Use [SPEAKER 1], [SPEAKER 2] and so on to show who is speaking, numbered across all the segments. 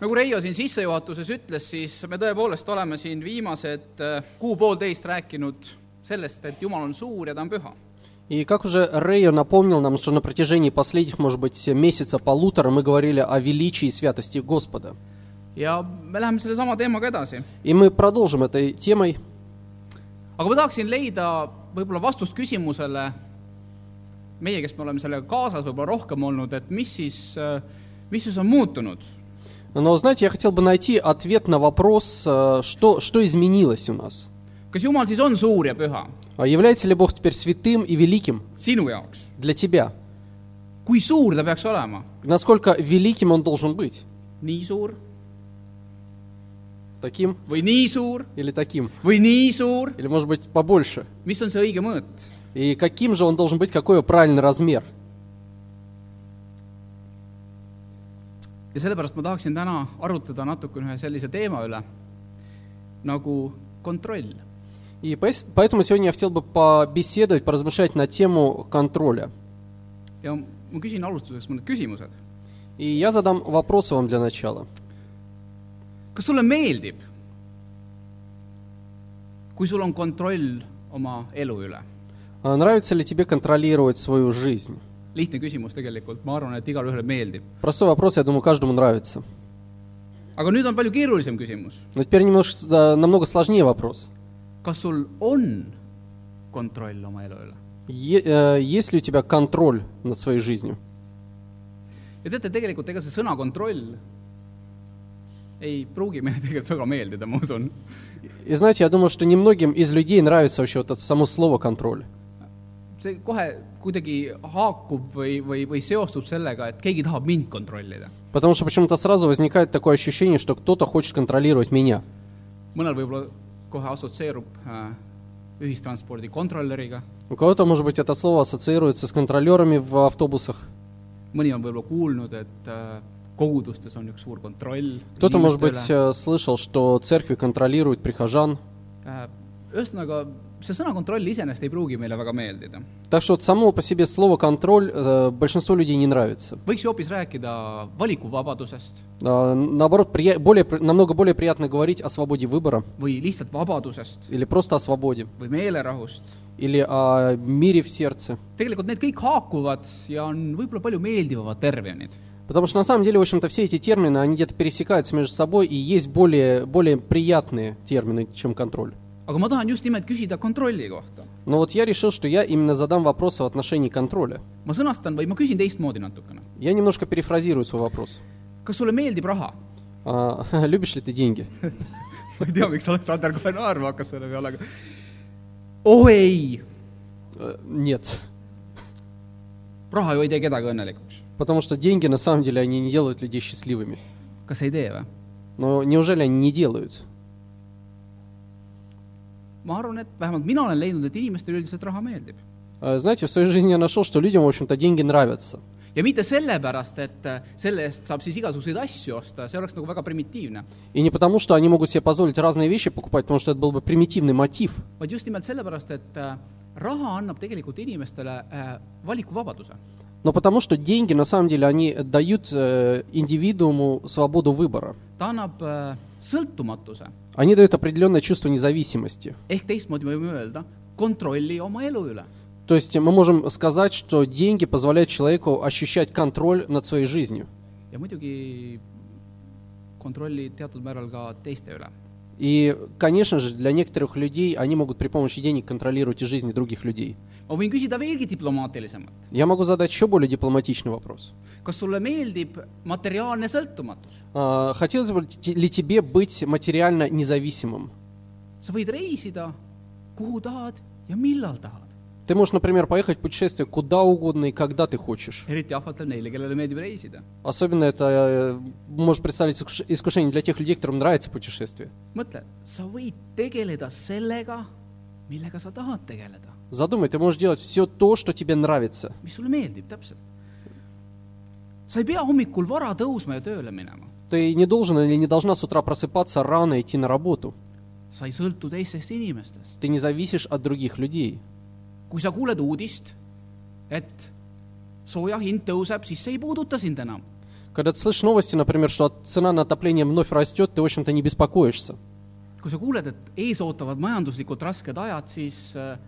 [SPEAKER 1] nagu Reio siin sissejuhatuses ütles, siis me tõepoolest oleme siin viimased kuu-poolteist rääkinud sellest, et Jumal on suur ja ta on püha.
[SPEAKER 2] И как уже Рейо напомнил нам, что на протяжении последних, может быть, месяца полутора мы говорили о величии и святости Господа.
[SPEAKER 1] ja me läheme sellesama teemaga edasi.
[SPEAKER 2] И мы продолжим этой темой.
[SPEAKER 1] aga ma tahaksin leida võib-olla vastust küsimusele, meie, kes me oleme sellega kaasas võib-olla rohkem olnud, et mis siis , mis siis on muutunud
[SPEAKER 2] Но, знаете, я хотел бы найти ответ на вопрос, э, что, что изменилось у нас.
[SPEAKER 1] kas Jumal siis on suur ja püha
[SPEAKER 2] А Является ли Бог теперь святым и великим
[SPEAKER 1] sinu jaoks ?
[SPEAKER 2] для тебя?
[SPEAKER 1] kui suur ta peaks olema ?
[SPEAKER 2] Насколько великим Он должен быть?
[SPEAKER 1] nii suur
[SPEAKER 2] Таким
[SPEAKER 1] või nii suur
[SPEAKER 2] или таким?
[SPEAKER 1] või nii suur ?
[SPEAKER 2] Или, может быть, побольше?
[SPEAKER 1] mis on see õige mõõt ?
[SPEAKER 2] И каким же он должен быть, какой его правильный размер?
[SPEAKER 1] ja sellepärast ma tahaksin täna arutada natukene ühe sellise teema üle nagu kontroll .
[SPEAKER 2] И поэс- поэтому сегодня я хотел бы побеседовать, поразмышлять на тему контроля.
[SPEAKER 1] ja ma küsin alustuseks mõned küsimused .
[SPEAKER 2] И я задам вопросы вам для начала.
[SPEAKER 1] kas sulle meeldib , kui sul on kontroll oma elu üle ?
[SPEAKER 2] А Нравится ли тебе контролировать свою жизнь?
[SPEAKER 1] lihtne küsimus tegelikult , ma arvan , et igale ühele meeldib .
[SPEAKER 2] Простой вопрос, я думаю, каждому нравится.
[SPEAKER 1] aga nüüd on palju keerulisem küsimus .
[SPEAKER 2] Но теперь немножко, с- да, намного сложнее вопрос.
[SPEAKER 1] kas sul on kontroll oma elu üle ?
[SPEAKER 2] Е- э, есть ли у тебя контроль над своей жизнью?
[SPEAKER 1] ja teate , tegelikult ega see sõna kontroll ei pruugi meile tegelikult väga meeldida , ma usun
[SPEAKER 2] И знаете, я думаю, что немногим из людей нравится вообще вот это само слово контроль.
[SPEAKER 1] see kohe kuidagi haakub või , või , või seostub sellega , et keegi tahab mind kontrollida .
[SPEAKER 2] Потому что почему-то сразу возникает такое ощущение, что кто-то хочет контролировать меня.
[SPEAKER 1] mõnel võib-olla kohe assotsieerub äh, ühistranspordi kontrolöriga ,
[SPEAKER 2] У кого-то, может быть, это слово ассоциируется с контролерами в автобусах.
[SPEAKER 1] mõni on võib-olla kuulnud , et äh, kogudustes on üks suur kontroll .
[SPEAKER 2] Кто-то, может быть, э, слышал, что церкви контролируют прихожан.
[SPEAKER 1] Äh, ühesõnaga , see sõna kontroll iseenesest ei pruugi meile väga meeldida .
[SPEAKER 2] Так что вот само по себе слово контроль э, большинству людей не нравится.
[SPEAKER 1] võiks ju hoopis rääkida valikuvabadusest
[SPEAKER 2] А, наоборот, прия- более, при- намного более приятно говорить о свободе выбора
[SPEAKER 1] või lihtsalt vabadusest
[SPEAKER 2] или просто о свободе,
[SPEAKER 1] või meelerahust .
[SPEAKER 2] или о мире в сердце.
[SPEAKER 1] tegelikult need kõik haakuvad ja on võib-olla palju meeldivamad terminid
[SPEAKER 2] Потому что на самом деле, в общем-то, все эти термины, они где-то пересекаются между собой, и есть более, более приятные термины, чем контроль.
[SPEAKER 1] aga ma tahan just nimelt küsida kontrolli kohta .
[SPEAKER 2] Но вот я решил, что я именно задам вопрос в отношении контроля.
[SPEAKER 1] ma sõnastan või ma küsin teistmoodi natukene .
[SPEAKER 2] Я немножко перефразирую свой вопрос.
[SPEAKER 1] kas sulle meeldib raha ?
[SPEAKER 2] А, любишь ли ты деньги?
[SPEAKER 1] ma ei tea , miks Aleksander kohe naerma hakkas selle peale , aga oh ei ,
[SPEAKER 2] Э, Нет.
[SPEAKER 1] raha ju ei tee kedagi õnnelikuks .
[SPEAKER 2] Потому что деньги, на самом деле, они не делают людей счастливыми.
[SPEAKER 1] kas ei tee või ?
[SPEAKER 2] Но неужели они не делают?
[SPEAKER 1] ma arvan , et vähemalt mina olen leidnud , et inimestele üldiselt raha meeldib .
[SPEAKER 2] Э, Знаете, в своей жизни я нашел, что людям, в общем-то, деньги нравятся.
[SPEAKER 1] ja mitte sellepärast , et äh, selle eest saab siis igasuguseid asju osta , see oleks nagu väga primitiivne ,
[SPEAKER 2] И не потому, что они могут себе позволить разные вещи покупать, потому что это был бы примитивный мотив.
[SPEAKER 1] vaid just nimelt sellepärast , et äh, raha annab tegelikult inimestele äh, valikuvabaduse .
[SPEAKER 2] Но потому что деньги, на самом деле, они дают э, индивидууму свободу выбора.
[SPEAKER 1] ta annab äh, sõltumatuse
[SPEAKER 2] Они дают определенное чувство независимости.
[SPEAKER 1] ehk teistmoodi me võime öelda , kontrolli oma elu üle .
[SPEAKER 2] То есть мы можем сказать, что деньги позволяют человеку ощущать контроль над своей жизнью.
[SPEAKER 1] ja muidugi kontrolli teatud määral ka teiste üle .
[SPEAKER 2] И, конечно же, для некоторых людей они могут при помощи денег контролировать и жизни других людей.
[SPEAKER 1] ma võin küsida veelgi diplomaatilisemalt .
[SPEAKER 2] Я могу задать еще более дипломатичный вопрос.
[SPEAKER 1] kas sulle meeldib materiaalne sõltumatus ?
[SPEAKER 2] А, Хотелось бы те- ли тебе быть материально независимым?
[SPEAKER 1] sa võid reisida , kuhu tahad ja millal tahad .
[SPEAKER 2] Ты можешь, например, поехать в путешествие куда угодно и когда ты хочешь.
[SPEAKER 1] eriti ahvatlev neile , kellele meeldib reisida .
[SPEAKER 2] Особенно это э, может представить искуш- искушение для тех людей, которым нравится путешествие.
[SPEAKER 1] mõtle , sa võid tegeleda sellega , millega sa tahad tegeleda ,
[SPEAKER 2] Задумай, ты можешь делать все то, что тебе нравится.
[SPEAKER 1] mis sulle meeldib täpselt . sa ei pea hommikul vara tõusma ja tööle minema .
[SPEAKER 2] Ты не должен или не должна с утра просыпаться рано и идти на работу.
[SPEAKER 1] sa ei sõltu teistest inimestest .
[SPEAKER 2] Ты не зависишь от других людей.
[SPEAKER 1] kui sa kuuled uudist , et sooja hind tõuseb , siis see ei puuduta sind enam .
[SPEAKER 2] Когда ты слышишь новости, например, что от- цена на отопление вновь растет, ты, в общем-то, не беспокоишься.
[SPEAKER 1] kui sa kuuled , et ees ootavad majanduslikult rasked ajad , siis äh,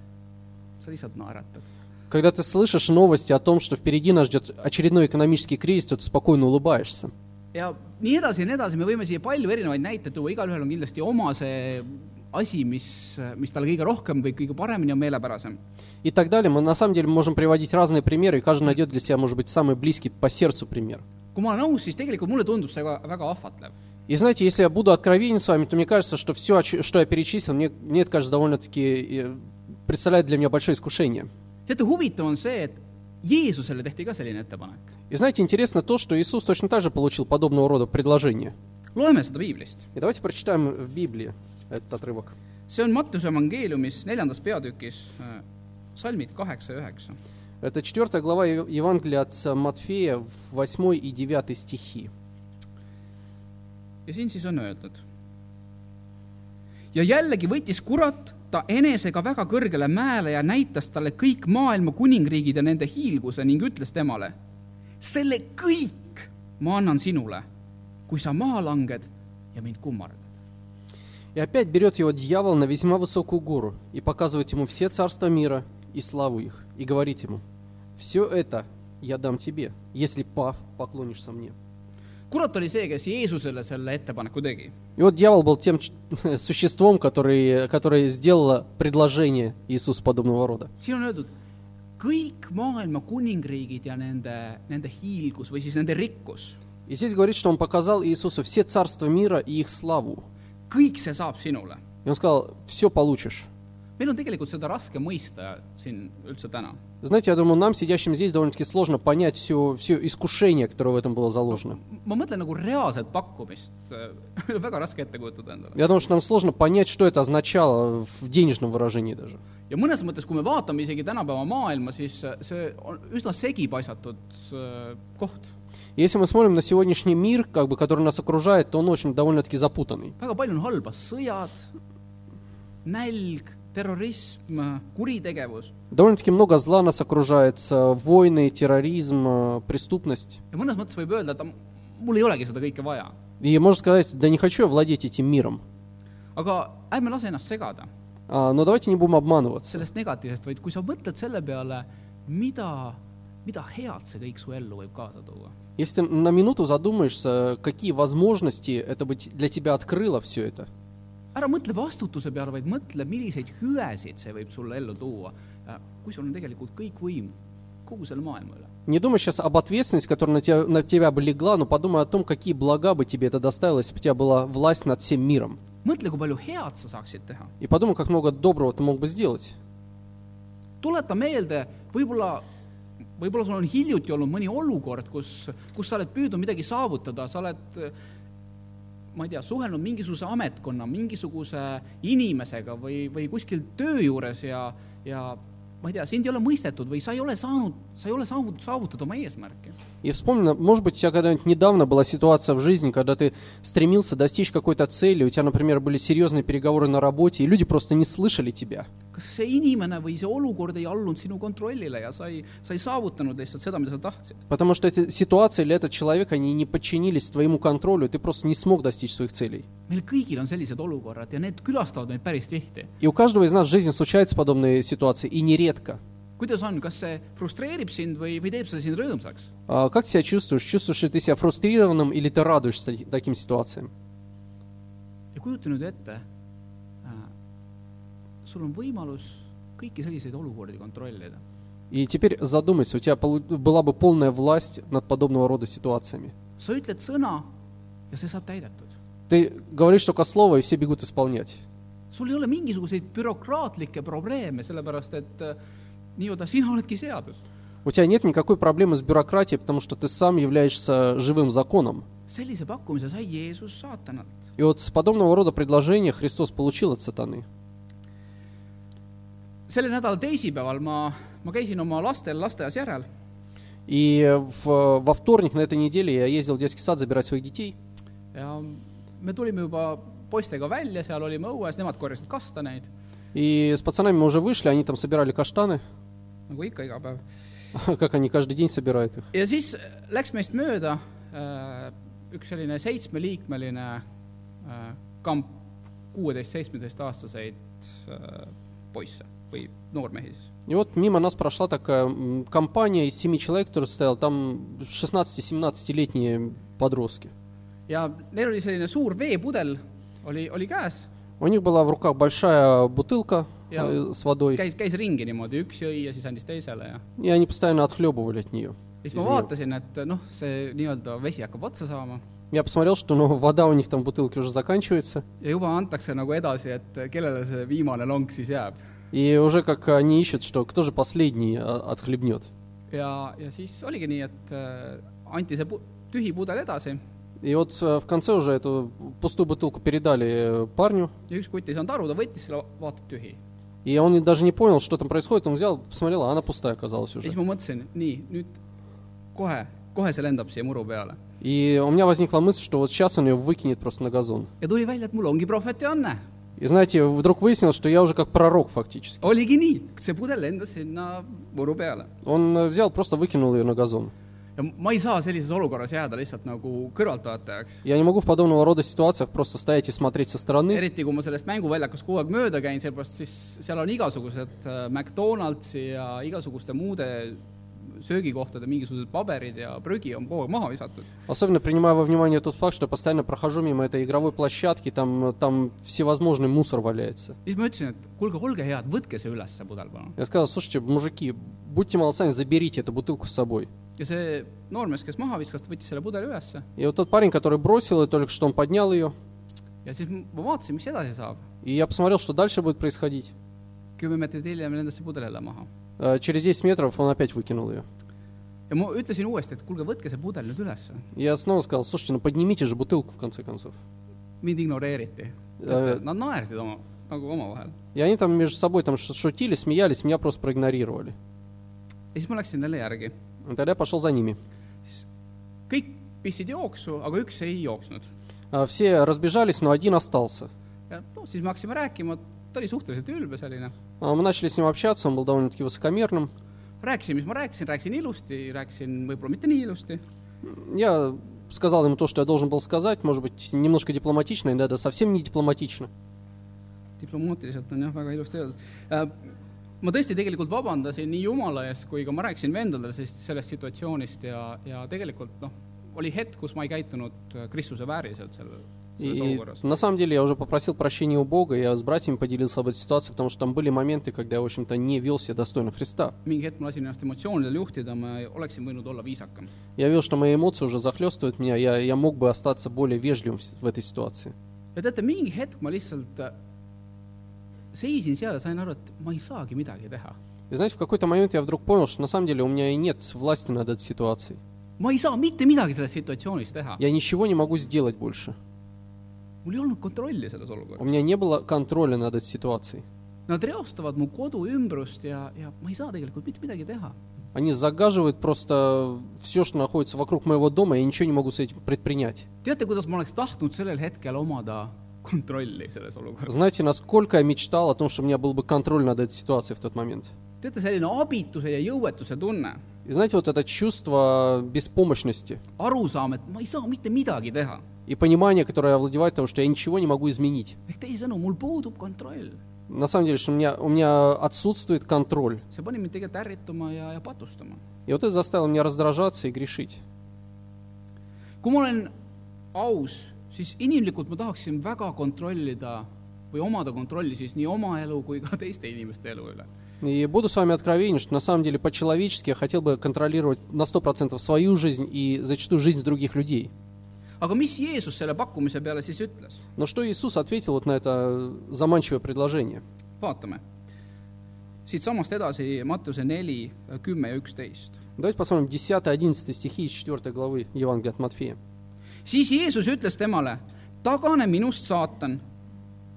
[SPEAKER 1] sa lihtsalt naeratad .
[SPEAKER 2] Когда ты слышишь новости о том, что впереди нас ждет очередной экономический кризис, то ты спокойно улыбаешься.
[SPEAKER 1] ja nii edasi ja nii edasi , me võime siia palju erinevaid näiteid tuua , igalühel on kindlasti oma see asi , mis , mis talle kõige rohkem või kõige paremini on meelepärasem .
[SPEAKER 2] И так далее. Мы на самом деле можем приводить разные примеры, и каждый найдет для себя, может быть, самый близкий по сердцу пример.
[SPEAKER 1] kui ma olen aus , siis tegelikult mulle tundub see ka väga ahvatlev .
[SPEAKER 2] И знаете, если я буду откровенен с вами, то мне кажется, что все, что я перечислил, мне, мне это кажется довольно-таки э, представляет для меня большое искушение.
[SPEAKER 1] teate , huvitav on see , et Jeesusele tehti ka selline ettepanek .
[SPEAKER 2] И знаете, интересно то, что Иисус точно так же получил подобного рода предложение.
[SPEAKER 1] loeme seda piiblist .
[SPEAKER 2] И давайте прочитаем в Библии этот отрывок.
[SPEAKER 1] see on Mattuse evangeeliumis neljandas peatükis äh, salmid kaheksa ja üheksa .
[SPEAKER 2] Это 4 глава Ев- Евангелия от С- Матфея, в 8 и 9 стихи.
[SPEAKER 1] ja siin siis on öeldud . ja jällegi võttis kurat ta enesega väga kõrgele mäele ja näitas talle kõik maailma kuningriigid ja nende hiilguse ning ütles temale . selle kõik ma annan sinule , kui sa maha langed ja mind kummardad .
[SPEAKER 2] И опять берет его дьявол на весьма высокую гору и показывает ему все царства мира и славу их, и говорит ему, «Все это я дам тебе, если пав поклонишься мне».
[SPEAKER 1] kurat oli see , kes Jeesusele selle ettepaneku тegi .
[SPEAKER 2] И вот дьявол был тем ч- существом, который, которое сделало предложение Иисусу подобного рода.
[SPEAKER 1] siin on öeldud , kõik maailma kuningriigid ja nende , nende hiilgus või siis nende rikkus ,
[SPEAKER 2] И здесь говорит, что он показал Иисусу все царства мира и их славу.
[SPEAKER 1] kõik see saab sinule .
[SPEAKER 2] И он сказал, все получишь.
[SPEAKER 1] meil on tegelikult seda raske mõista siin üldse täna
[SPEAKER 2] Знаете, я думаю, нам, сидящим здесь, довольно-таки сложно понять все, все искушение, которое в этом было заложено.
[SPEAKER 1] ma mõtlen nagu reaalset pakkumist , väga raske ette kujutada endale .
[SPEAKER 2] Я думаю, что нам сложно понять, что это означало в денежном выражении даже.
[SPEAKER 1] ja mõnes mõttes , kui me vaatame isegi tänapäeva maailma , siis see on üsna segipaisatud äh, koht .
[SPEAKER 2] Если мы смотрим на сегодняшний мир, как бы, который нас окружает, то он, в общем, довольно-таки запутанный.
[SPEAKER 1] väga palju on halba , sõjad , nälg , terrorism , kuritegevus
[SPEAKER 2] Довольно-таки много зла нас окружает, э, войны, терроризм, э, преступность.
[SPEAKER 1] ja mõnes mõttes võib öelda , et "Ah, mul ei olegi seda kõike vaja .
[SPEAKER 2] И можно сказать, да не хочу я владеть этим миром.
[SPEAKER 1] aga ärme lase ennast segada
[SPEAKER 2] А, но давайте не будем обманываться.
[SPEAKER 1] sellest negatiivsest , vaid kui sa mõtled selle peale , mida , mida head see kõik su ellu võib kaasa tuua
[SPEAKER 2] Если ты на минуту задумаешься, какие возможности это бы т- для тебя открыло все это,
[SPEAKER 1] ära mõtle vastutuse peale , vaid mõtle , milliseid hüvesid see võib sulle ellu tuua , kui sul on tegelikult kõik võim kogu selle maailma üle .
[SPEAKER 2] Не думай сейчас об ответственности, которая на тебя, на тебя бы легла, но подумай о том, какие блага бы тебе это доставило, если бы у тебя была власть над всем миром.
[SPEAKER 1] mõtle , kui palju head sa saaksid теha .
[SPEAKER 2] И подумай, как много доброго ты мог бы сделать.
[SPEAKER 1] tuleta meelde , võib-olla , võib-olla sul on hiljuti olnud mõni olukord , kus , kus sa oled püüdnud midagi saavutada , sa oled ma ei tea , suhelnud mingisuguse ametkonna , mingisuguse inimesega või , või kuskil töö juures ja , ja ma ei tea , sind ei ole mõistetud või sa ei ole saanud , sa ei ole saavut- , saavutanud oma eesmärke
[SPEAKER 2] И вспомни, на- может быть, у тебя когда-нибудь недавно была ситуация в жизни, когда ты стремился достичь какой-то цели, у тебя, например, были серьезные переговоры на работе, и люди просто не слышали тебя.
[SPEAKER 1] kas see inimene või see olukord ei allunud sinu kontrollile ja sa ei , sa ei saavutanud lihtsalt seda , mida sa tahtsid .
[SPEAKER 2] Потому что эта ситуация или этот человек, они не подчинились твоему контролю, ты просто не смог достичь своих целей.
[SPEAKER 1] meil kõigil on sellised olukorrad ja need külastavad meid päris tihti .
[SPEAKER 2] И у каждого из нас в жизни случаются подобные ситуации, и нередко.
[SPEAKER 1] kuidas on , kas see frustreerib sind või , või teeb see sind rõõmsaks ?
[SPEAKER 2] А Как себя чувствуешь? Чувствуешь ли ты себя фрустрированным или ты радуешься таки- таким ситуациям?
[SPEAKER 1] ja kujuta nüüd ette äh, , sul on võimalus kõiki selliseid olukordi kontrollida .
[SPEAKER 2] И теперь задумайся, у тебя полу- была бы полная власть над подобного рода ситуациями.
[SPEAKER 1] sa ütled sõna ja see saab täidetud .
[SPEAKER 2] Ты говоришь только слово, и все бегут исполнять.
[SPEAKER 1] sul ei ole mingisuguseid bürokraatlikke probleeme , sellepärast et äh, nii-öelda sina oledki seadus .
[SPEAKER 2] У тебя нет никакой проблемы с бюрократией, потому что ты сам являешься живым законом.
[SPEAKER 1] sellise pakkumise sai Jeesus saatanalt .
[SPEAKER 2] И вот с подобного рода предложения Христос получил от сатаны.
[SPEAKER 1] selle nädala teisipäeval ma , ma käisin oma lastel lasteaias järel
[SPEAKER 2] И в- во вторник на этой неделе я ездил в детский сад забирать своих детей.
[SPEAKER 1] ja me tulime juba poistega välja , seal olime õues , nemad korjasid kastaneid ,
[SPEAKER 2] И с пацанами мы уже вышли, они там собирали каштаны,
[SPEAKER 1] nagu ikka iga päev .
[SPEAKER 2] как они каждый день собирают их.
[SPEAKER 1] ja siis läks meist mööda äh, üks selline seitsmeliikmeline äh, kamp kuueteist-seitsmeteistaastaseid äh, poisse või noormehi siis .
[SPEAKER 2] И вот мимо нас прошла такая м, компания из семи человек, которая стояла, там 16-17-летние подростки.
[SPEAKER 1] ja neil oli selline suur veepudel oli , oli käes ,
[SPEAKER 2] У них была в руках большая бутылка
[SPEAKER 1] Я-
[SPEAKER 2] э, с водой,
[SPEAKER 1] käis , käis ringi niimoodi , üks jõi ja siis andis teisele ja
[SPEAKER 2] и они постоянно отхлебывали от нее.
[SPEAKER 1] ja siis ma vaatasin , et noh , see nii-öelda vesi hakkab otsa saama
[SPEAKER 2] Я посмотрел, что ну, вода у них там в бутылке уже заканчивается,
[SPEAKER 1] ja juba antakse nagu edasi , et kellele see viimane long siis jääb .
[SPEAKER 2] и уже как они ищут, что кто же последний а, отхлебнет.
[SPEAKER 1] ja , ja siis oligi nii , et äh, anti see pu- tühi pudel edasi
[SPEAKER 2] И вот э, в конце уже эту пустую бутылку передали э, парню,
[SPEAKER 1] ja üks kutt ei saanud aru , ta võttis selle , vaatab tühi .
[SPEAKER 2] и он и даже не понял, что там происходит, он взяl, посмотрел, а она пустая оказалась
[SPEAKER 1] ja
[SPEAKER 2] уже.
[SPEAKER 1] siis ma mõtlesin , nii , nüüd kohe , kohe see lendab siia muru peale .
[SPEAKER 2] И у меня возникла мысль, что вот сейчас он ее выкинет просто на газон.
[SPEAKER 1] ja tuli välja , et mul ongi prohveti anne .
[SPEAKER 2] И знаете, вдруг выяснилось, что я уже как пророк фактически.
[SPEAKER 1] oligi nii , see pudel lendas sinna muru peale .
[SPEAKER 2] Он э, взял, просто выкинул ее на газон.
[SPEAKER 1] ja ma ei saa sellises olukorras jääda lihtsalt nagu kõrvaltvaatajaks .
[SPEAKER 2] Я не могу в подобного рода ситуациях просто стоять и смотреть со стороны.
[SPEAKER 1] eriti , kui ma sellest mänguväljakust kogu aeg mööda käin , sellepärast siis seal on igasugused äh, McDonaldsi ja igasuguste muude söögikohtade mingisugused paberid ja prügi on kogu aeg maha visatud .
[SPEAKER 2] Особенно принимая во внимание тот факт, что я постоянно прохожу мимо этой игровой площадки, там, э, там всевозможный мусор валяется.
[SPEAKER 1] siis ma ütlesin , et kuulge , olge head , võtke see üles , see pudel palun .
[SPEAKER 2] Я сказал, слушайте, мужики, будьте молодцами, заберите эту бутылку с собой.
[SPEAKER 1] ja see noormees , kes maha viskas , võttis selle pudeli ülesse
[SPEAKER 2] И вот тот парень, который бросил ее, только что он поднял ее,
[SPEAKER 1] ja siis ma vaatasin , mis edasi saab .
[SPEAKER 2] и я посмотрел, что дальше будет происходить.
[SPEAKER 1] kümme meetrit hiljem lendas see pudel jälle maha .
[SPEAKER 2] Э, Через 10 метров он опять выкинул ее.
[SPEAKER 1] ja ma ütlesin uuesti , et kuulge , võtke see pudel nüüd ülesse .
[SPEAKER 2] Я снова сказал, слушайте, ну поднимите же бутылку, в конце концов.
[SPEAKER 1] mind ignoreeriti .
[SPEAKER 2] Äh.
[SPEAKER 1] Nad naersid oma , nagu omavahel .
[SPEAKER 2] И они там между собой там ш- шутили, смеялись, меня просто проигнорировали.
[SPEAKER 1] ja siis ma läksin jälle järgi .
[SPEAKER 2] И Тогда я пошел за ними.
[SPEAKER 1] kõik pistsid jooksu , aga üks ei jooksnud .
[SPEAKER 2] А, Все разбежались, но один остался.
[SPEAKER 1] ja noh , siis me hakkasime rääkima , ta oli suhteliselt ülbe selline .
[SPEAKER 2] А, Мы начали с ним общаться, он был довольно-таки высокомерным.
[SPEAKER 1] rääkisin , mis ma rääkisin , rääkisin ilusti , rääkisin võib-olla mitte nii ilusti .
[SPEAKER 2] Я сказал ему то, что я должен был сказать, может быть, немножко дипломатично, иногда да, совсем не дипломатично.
[SPEAKER 1] diplomaatiliselt on jah , väga ilusti öeldud . ma tõesti tegelikult vabandasin nii Jumala ees , kui ka ma rääkisin vendadele sellest , sellest situatsioonist ja , ja tegelikult noh , oli hetk , kus ma ei käitunud äh, Kristuse vääriselt selle , selles
[SPEAKER 2] И
[SPEAKER 1] olukorras .
[SPEAKER 2] на самом деле я уже попросил прощения у Бога, я с братьями поделился об этой ситуации, потому что там были моменты, когда я, в общем-то, не вел себя достойно Христа.
[SPEAKER 1] mingi hetk ma lasin ennast emotsioonidel juhtida , ma oleksin võinud olla viisakam .
[SPEAKER 2] Я видел, что мои эмоции уже захлестывают меня, я, я мог бы остаться более вежливым в с- в этой ситуации.
[SPEAKER 1] ja teate , mingi hetk ma lihtsalt äh, seisin seal ja sain aru , et ma ei saagi midagi teha .
[SPEAKER 2] И знаете, в какой-то момент я вдруг понял, что на самом деле у меня и нет власти над этой ситуацией.
[SPEAKER 1] ma ei saa mitte midagi selles situatsioonis teha .
[SPEAKER 2] Я ничего не могу сделать больше.
[SPEAKER 1] mul ei olnud kontrolli selles
[SPEAKER 2] У
[SPEAKER 1] olukorras .
[SPEAKER 2] меня не было контроля над этой ситуацией.
[SPEAKER 1] Nad reostavad mu kodu ümbrust ja , ja ma ei saa tegelikult mitte midagi teha
[SPEAKER 2] Они загаживают просто все, что находится вокруг моего дома, я ничего не могу с этим предпринять.
[SPEAKER 1] teate , kuidas ma oleks tahtnud sellel hetkel omada kontrolli selles olukorras ?
[SPEAKER 2] Знаете, насколько я мечтал о том, что у меня был бы контроль над этой ситуацией в тот момент.
[SPEAKER 1] teate , selline abituse ja jõuetuse tunne ,
[SPEAKER 2] И знаете, вот это чувство беспомощности
[SPEAKER 1] arusaam , et ma ei saa mitte midagi teha .
[SPEAKER 2] и понимание, которое овладевает того, что я ничего не могу изменить.
[SPEAKER 1] ehk teisisõnu , mul puudub kontroll .
[SPEAKER 2] На самом деле, что у меня, у меня отсутствует контроль.
[SPEAKER 1] see pani mind tegelikult ärrituma ja , ja patustama .
[SPEAKER 2] И вот это заставило меня раздражаться и грешить.
[SPEAKER 1] kui ma olen aus , siis inimlikult ma tahaksin väga kontrollida või omada kontrolli siis nii oma elu kui ka teiste inimeste elu üle .
[SPEAKER 2] И буду с вами откровенен, что на самом деле по-человечески я хотел бы контролировать на 100% свою жизнь и зачастую жизнь других людей.
[SPEAKER 1] aga mis Jeesus selle pakkumise peale siis ütles ?
[SPEAKER 2] Но что Иисус ответил вот на это заманчивое предложение?
[SPEAKER 1] vaatame . siitsamast edasi Mattiuse neli , kümme ja üksteist
[SPEAKER 2] Давайте посмотрим 10-11 стихи из 4 главы Евангелия от Матфея.
[SPEAKER 1] siis Jeesus ütles temale , tagane minust , saatan ,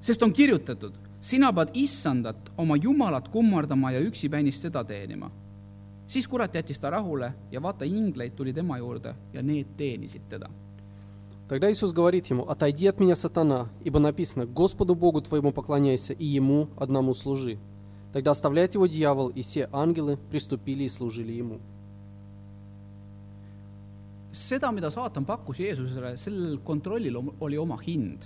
[SPEAKER 1] sest on kirjutatud , sina pead issandat oma jumalat kummardama ja üksipäinist seda teenima . siis kurat jättis ta rahule ja vaata , ingleid tuli tema juurde ja need teenisid teda .
[SPEAKER 2] Тогда Иисус говорит ему, «Отойди от меня, сатана, ибо написано, Господу Богу твоему поклоняйся, и Ему одному служи». Тогда оставляет его дьявол, и все ангелы приступили и служили ему.
[SPEAKER 1] seda , mida saatan pakkus Jeesusele , sellel kontrollil om- oli oma hind .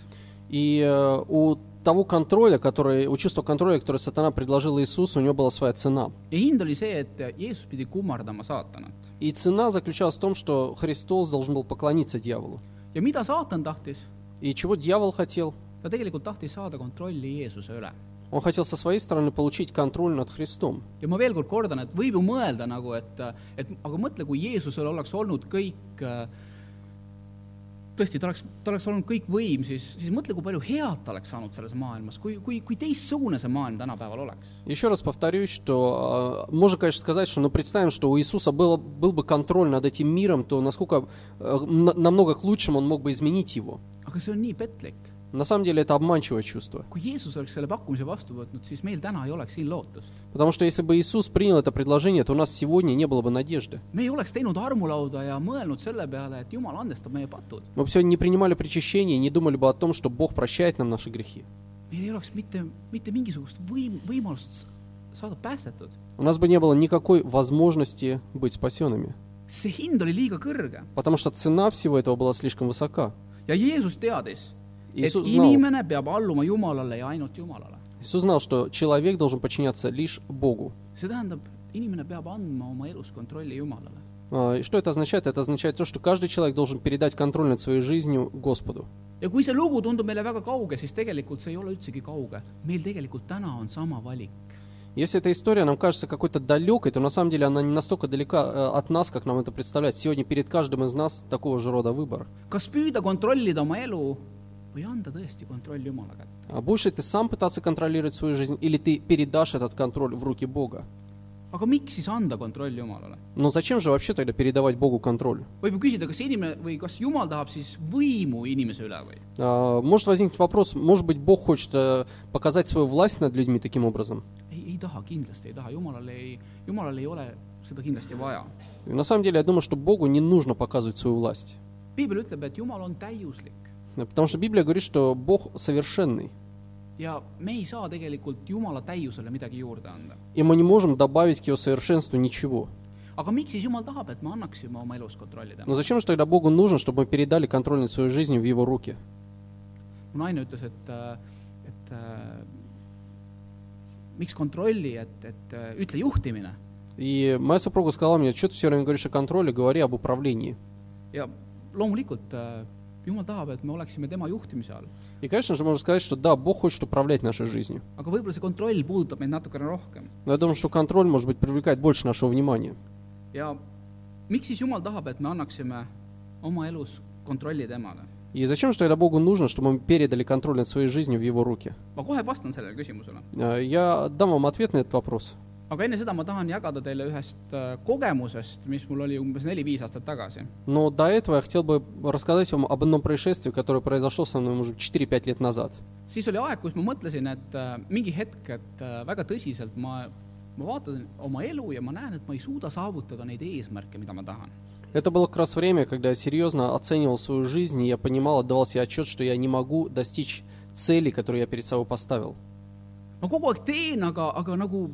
[SPEAKER 2] И э, у того контроля, который, у чувства контроля, которое сатана предложил Иисусу, у него была своя цена.
[SPEAKER 1] ja hind oli see , et Jeesus pidi kummardama saatanat .
[SPEAKER 2] И цена заключалась в том, что Христос должен был поклониться дьяволу.
[SPEAKER 1] ja mida saatan tahtis ?
[SPEAKER 2] И чего дьявол хотел?
[SPEAKER 1] ta tegelikult tahtis saada kontrolli Jeesuse üle .
[SPEAKER 2] Он хотел со своей стороны получить контроль над Христом.
[SPEAKER 1] ja ma veel kord kordan , et võib ju mõelda nagu , et , et aga mõtle , kui Jeesusel oleks olnud kõik äh, tõesti , ta oleks , ta oleks olnud kõik võim , siis , siis mõtle , kui palju head ta oleks saanud selles maailmas , kui , kui , kui teistsugune see maailm tänapäeval oleks .
[SPEAKER 2] Еще раз повторюсь, что э, можно, конечно, сказать, что, но представим, что у Иисуса было, был бы контроль над этим миром, то насколько э, м- намного к лучшему он мог бы изменить его.
[SPEAKER 1] aga see on nii petlik .
[SPEAKER 2] На самом деле это обманчивое чувство,
[SPEAKER 1] kui Jeesus oleks selle pakkumise vastu võtnud , siis meil täna ei oleks siin lootust .
[SPEAKER 2] потому что если бы Иисус принял это предложение, то у нас сегодня не было бы надежды.
[SPEAKER 1] me ei oleks teinud armulauda ja mõelnud selle peale , et Jumal andestab meie patud .
[SPEAKER 2] Мы бы сегодня не принимали причащение и не думали бы о том, что Бог прощает нам наши грехи.
[SPEAKER 1] meil ei oleks mitte , mitte mingisugust võim- , võimalust s- saada päästetud .
[SPEAKER 2] У нас бы не было никакой возможности быть спасенными,
[SPEAKER 1] see hind oli liiga kõrge
[SPEAKER 2] потому что цена всего этого была слишком высока.
[SPEAKER 1] ja Jeesus teadis , et
[SPEAKER 2] Jeesus znal.
[SPEAKER 1] inimene peab alluma Jumalale ja ainult Jumalale .
[SPEAKER 2] Иисус знал, что человек должен подчиняться лишь Богу.
[SPEAKER 1] see tähendab , inimene peab andma oma elus kontrolli Jumalale .
[SPEAKER 2] А, И что это означает? Это означает то, что каждый человек должен передать контроль над своей жизнью Господу.
[SPEAKER 1] ja kui see lugu tundub meile väga kauge , siis tegelikult see ei ole üldsegi kauge . meil tegelikult täna on sama valik .
[SPEAKER 2] Если эта история нам кажется какой-то далекой, то на самом деле она не настолько далека э, от нас, как нам это представляет. Сегодня перед каждым из нас такого же рода выбор.
[SPEAKER 1] kas püüda kontrollida oma elu või anda tõesti kontroll Jumala kätte ?
[SPEAKER 2] А будешь ли ты сам пытаться контролировать свою жизнь, или ты передашь этот контроль в руки Бога?
[SPEAKER 1] aga miks siis anda kontroll Jumalale ?
[SPEAKER 2] Но зачем же вообще тогда передавать Богу контроль?
[SPEAKER 1] võib ju küsida , kas inimene või kas Jumal tahab siis võimu inimese üle või ?
[SPEAKER 2] А, Может возникнуть вопрос, может быть, Бог хочет э, показать свою власть над людьми таким образом?
[SPEAKER 1] ei , ei taha , kindlasti ei taha , Jumalale ei , Jumalale ei ole seda kindlasti vaja
[SPEAKER 2] И на самом деле, я думаю, что Богу не нужно показывать свою власть.
[SPEAKER 1] piibel ütleb , et Jumal on täiuslik
[SPEAKER 2] Э, Потому что Библия говорит, что Бог совершенный.
[SPEAKER 1] ja me ei saa tegelikult Jumala täiusele midagi juurde anda .
[SPEAKER 2] И мы не можем добавить к его совершенству ничего.
[SPEAKER 1] aga miks siis Jumal tahab , et me annaksime oma elus kontrolli
[SPEAKER 2] Но
[SPEAKER 1] temale ?
[SPEAKER 2] зачем же тогда Богу нужно, чтобы мы передали контроль над своей жизнью в его руки?
[SPEAKER 1] mu naine ütles , et , et äh, miks kontrolli , et , et äh, ütle juhtimine
[SPEAKER 2] И моя супруга сказала мне, что ты все время говоришь о контроле, говори об управлении.
[SPEAKER 1] ja loomulikult äh, Jumal tahab , et me oleksime tema juhtimise all ,
[SPEAKER 2] И, конечно же, можно сказать, что да, Бог хочет управлять нашей жизнью.
[SPEAKER 1] aga võib-olla see kontroll puudutab meid natukene rohkem
[SPEAKER 2] Но я думаю, что контроль, может быть, привлекает больше нашего внимания.
[SPEAKER 1] ja miks siis Jumal tahab , et me annaksime oma elus kontrolli temale ?
[SPEAKER 2] И зачем же тогда Богу нужно, чтобы мы передали контроль над своей жизнью в его руки?
[SPEAKER 1] ma kohe vastan sellele küsimusele .
[SPEAKER 2] Э, Я дам вам ответ на этот вопрос.
[SPEAKER 1] aga enne seda ma tahan jagada teile ühest äh, kogemusest , mis mul oli umbes neli-viis aastat tagasi .
[SPEAKER 2] Но до этого я хотел бы рассказать вам об одном происшествии, которое произошло со мной, может, 4-5 лет назад.
[SPEAKER 1] siis oli aeg , kus ma mõtlesin , et äh, mingi hetk , et äh, väga tõsiselt ma , ma vaatan oma elu ja ma näen , et ma ei suuda saavutada neid eesmärke , mida ma tahan .
[SPEAKER 2] Это было как раз время, когда я серьезно оценивал свою жизнь, и я понимал, отдавал себе отчет, что я не могу достичь цели, которую я перед собой поставил.
[SPEAKER 1] ma kogu aeg teen , aga , aga nagu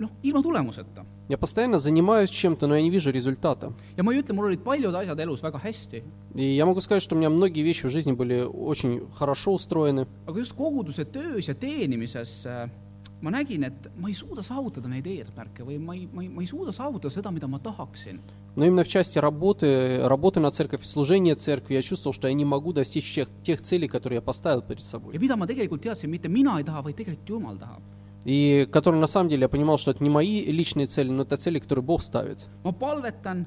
[SPEAKER 1] noh , ilma tulemuseta .
[SPEAKER 2] Я постоянно занимаюсь чем-то, но я не вижу результата.
[SPEAKER 1] ja ma ei ütle , mul olid paljud asjad elus väga hästi ,
[SPEAKER 2] И я могу сказать, что у меня многие вещи в жизни были очень хорошо устроены,
[SPEAKER 1] aga just koguduse töös ja teenimises äh, ma nägin , et ma ei suuda saavutada neid eesmärke või ma ei , ma ei , ma ei suuda saavutada seda , mida ma tahaksin
[SPEAKER 2] но именно в части работы, работы на церковь, служения церкви, я чувствовал, что я не могу достичь тех, тех целей, которые я поставил перед собой.
[SPEAKER 1] ja mida ma tegelikult teadsin , mitte mina ei taha , vaid tegelikult Jumal tahab .
[SPEAKER 2] И которые на самом деле я понимал, что это не мои личные цели, но это цели, которые Бог ставит.
[SPEAKER 1] ma palvetan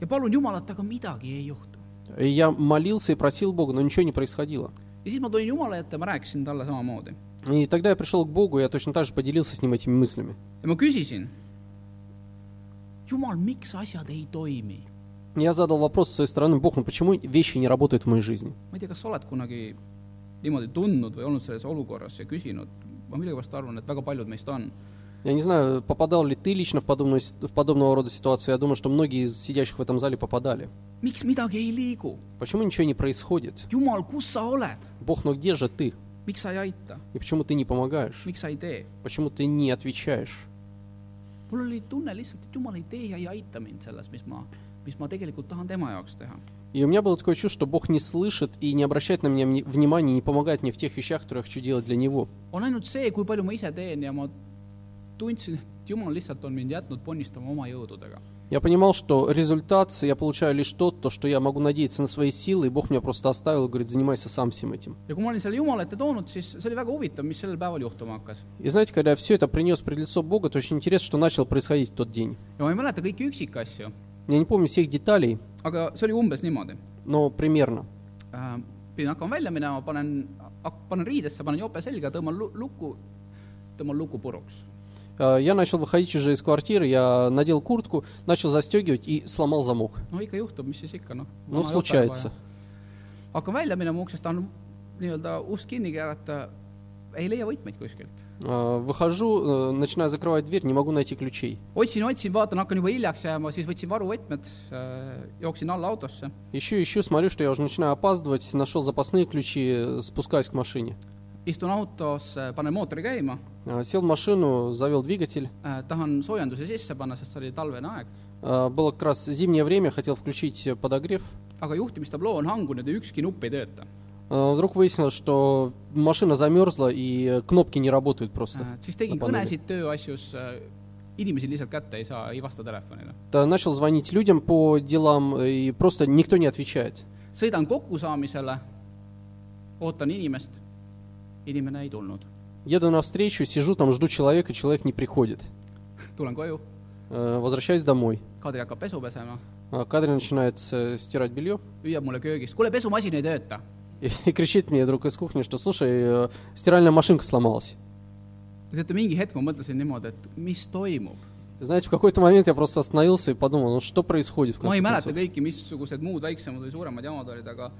[SPEAKER 1] ja palun Jumalat , aga midagi ei juhtu .
[SPEAKER 2] И я молился и просил Бога, но ничего не происходило.
[SPEAKER 1] ja siis ma tulin Jumala ette , ma rääkisin talle samamoodi
[SPEAKER 2] И тогда я пришел к Богу, и я точно так же поделился с ним этими мыслями.
[SPEAKER 1] ja ma küsisin . Jumal , miks asjad ei toimi ?
[SPEAKER 2] Я задал вопрос со своей стороны, Бог, ну почему вещи не работают в моей жизни?
[SPEAKER 1] ma ei tea , kas sa oled kunagi niimoodi tundnud või olnud selles olukorras ja küsinud , ma millegipärast arvan , et väga paljud meist on
[SPEAKER 2] Я не знаю, попадал ли ты лично в, подобную, с- в подобного рода ситуацию, я думаю, что многие из сидящих в этом зале попадали.
[SPEAKER 1] miks midagi ei liigu ?
[SPEAKER 2] Почему ничего не происходит?
[SPEAKER 1] Jumal , kus sa oled ?
[SPEAKER 2] Бог, ну где же ты?
[SPEAKER 1] miks sa ei aita ,
[SPEAKER 2] И почему ты не помогаешь?
[SPEAKER 1] miks sa ei tee ?
[SPEAKER 2] Почему ты не отвечаешь?
[SPEAKER 1] mul oli tunne lihtsalt , et Jumal ei tee ja ei aita mind selles , mis ma , mis ma tegelikult tahan tema jaoks teha .
[SPEAKER 2] И у меня было такое чувство, что Бог не слышит и не обращает на меня вни- внимания, и не помогает мне в тех вещах, которые я хочу делать для Него.
[SPEAKER 1] on ainult see , kui palju ma ise teen ja ma tundsin , et Jumal lihtsalt on mind jätnud ponnistama oma jõududega .
[SPEAKER 2] Я понимал, что результат я получаю лишь тот, то, что я могу надеяться на свои силы, и Бог меня просто оставил и говорит, занимайся сам всем этим.
[SPEAKER 1] ja kui ma olin selle Jumala ette toonud , siis see oli väga huvitav , mis sellel päeval juhtuma hakkas .
[SPEAKER 2] И знаете, когда я все это принес пред лицо Бога, то очень интересно, что начало происходить в тот день.
[SPEAKER 1] ja ma ei mäleta kõiki üksikasju ,
[SPEAKER 2] Я не помню всех деталей,
[SPEAKER 1] aga see oli umbes niimoodi .
[SPEAKER 2] но примерно.
[SPEAKER 1] pidin hakkama välja minema , panen , panen riidesse , panen jope selga , tõmban lu- lukku , tõmban luku puruks .
[SPEAKER 2] Э, Я начал выходить уже из квартиры, я надел куртку, начал застегивать и сломал замок.
[SPEAKER 1] no ikka juhtub , mis siis ikka , noh .
[SPEAKER 2] Ну, случается.
[SPEAKER 1] hakkan välja minema uksest , tahan nii-öelda ust kinni keerata , ei leia võtmeid kuskilt .
[SPEAKER 2] Э, Выхожу, э, начинаю закрывать дверь, не могу найти ключей.
[SPEAKER 1] otsin , otsin , vaatan , hakkan juba hiljaks jääma , siis võtsin varuvõtmed , jooksin alla autosse ,
[SPEAKER 2] Ищу, ищу, смотрю, что я уже начинаю опаздывать, нашел запасные ключи, э, спускаюсь к машине.
[SPEAKER 1] istun autosse , panen mootori käima ,
[SPEAKER 2] Э, Сел в машину, завел двигатель.
[SPEAKER 1] tahan soojenduse sisse panna , sest see oli talvene aeg ,
[SPEAKER 2] Э, Было как раз зимнее время, хотел включить э, подогрев.
[SPEAKER 1] aga juhtimistabloo on hangunud ja ükski nupp ei tööta .
[SPEAKER 2] Э, Вдруг выяснилось, что машина замерзla и э, кнопки не работают просто.
[SPEAKER 1] Äh, siis tegin kõnesid
[SPEAKER 2] Vabandage.
[SPEAKER 1] tööasjus , inimesi lihtsalt kätte ei saa , ei vasta telefonile .
[SPEAKER 2] Э, Начал звонить людям по делам, э, и просто никто не отвечает.
[SPEAKER 1] sõidan kokkusaamisele , ootan inimest , inimene ei tulnud .
[SPEAKER 2] Еду навстречу, сижу там, жду человека, человек не приходит.
[SPEAKER 1] tulen koju ,
[SPEAKER 2] Э, Возвращаюсь домой.
[SPEAKER 1] Kadri hakkab pesu pesema ,
[SPEAKER 2] А Кадрин начинает э, стирать белье
[SPEAKER 1] hüüab mulle köögist , kuule , pesumasin ei tööta .
[SPEAKER 2] и, и кричит мне друг из кухни, что слушай, э, стиральная машинка сломалась.
[SPEAKER 1] teate , mingi hetk ma mõtlesin niimoodi , et mis toimub .
[SPEAKER 2] Знаете, в какой-то момент я просто остановился и подумал, ну что происходит в
[SPEAKER 1] ma
[SPEAKER 2] конце
[SPEAKER 1] ei mäleta
[SPEAKER 2] концов?
[SPEAKER 1] kõiki , missugused muud väiksemad või suuremad jamad olid , aga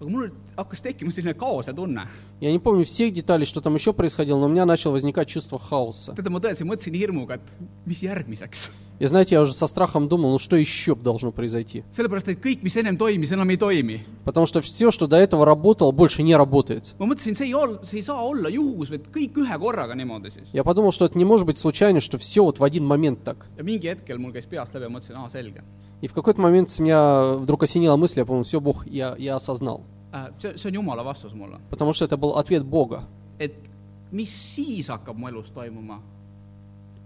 [SPEAKER 1] aga mul oli- hakkas tekkima selline kaose tunne .
[SPEAKER 2] Я не помню всех деталей, что там еще происходило, но у меня начало возникать чувство хаоса.
[SPEAKER 1] teate , ma tõesti mõtlesin hirmuga , et mis järgmiseks .
[SPEAKER 2] И знаете, я уже со страхом думал, ну что еще б должно произойти?
[SPEAKER 1] sellepärast , et kõik , mis ennem toimis , enam ei toimi
[SPEAKER 2] Потому что все, что до этого работало, больше не работает.
[SPEAKER 1] ma mõtlesin , see ei ol- , see ei saa olla juhus , vaid kõik ühe korraga niimoodi siis .
[SPEAKER 2] Я подумал, что это не может быть случайно, что все вот в один момент так.
[SPEAKER 1] ja mingi hetkel mul käis peast läbi ja mõtlesin , aa , selge .
[SPEAKER 2] И в какой-то момент с меня вдруг осенила мысль, я понял, все, Бог, я, я осознал.
[SPEAKER 1] Äh, see , see on jumala vastus mulle .
[SPEAKER 2] Потому что это был ответ Бога.
[SPEAKER 1] et mis siis hakkab mu elus toimuma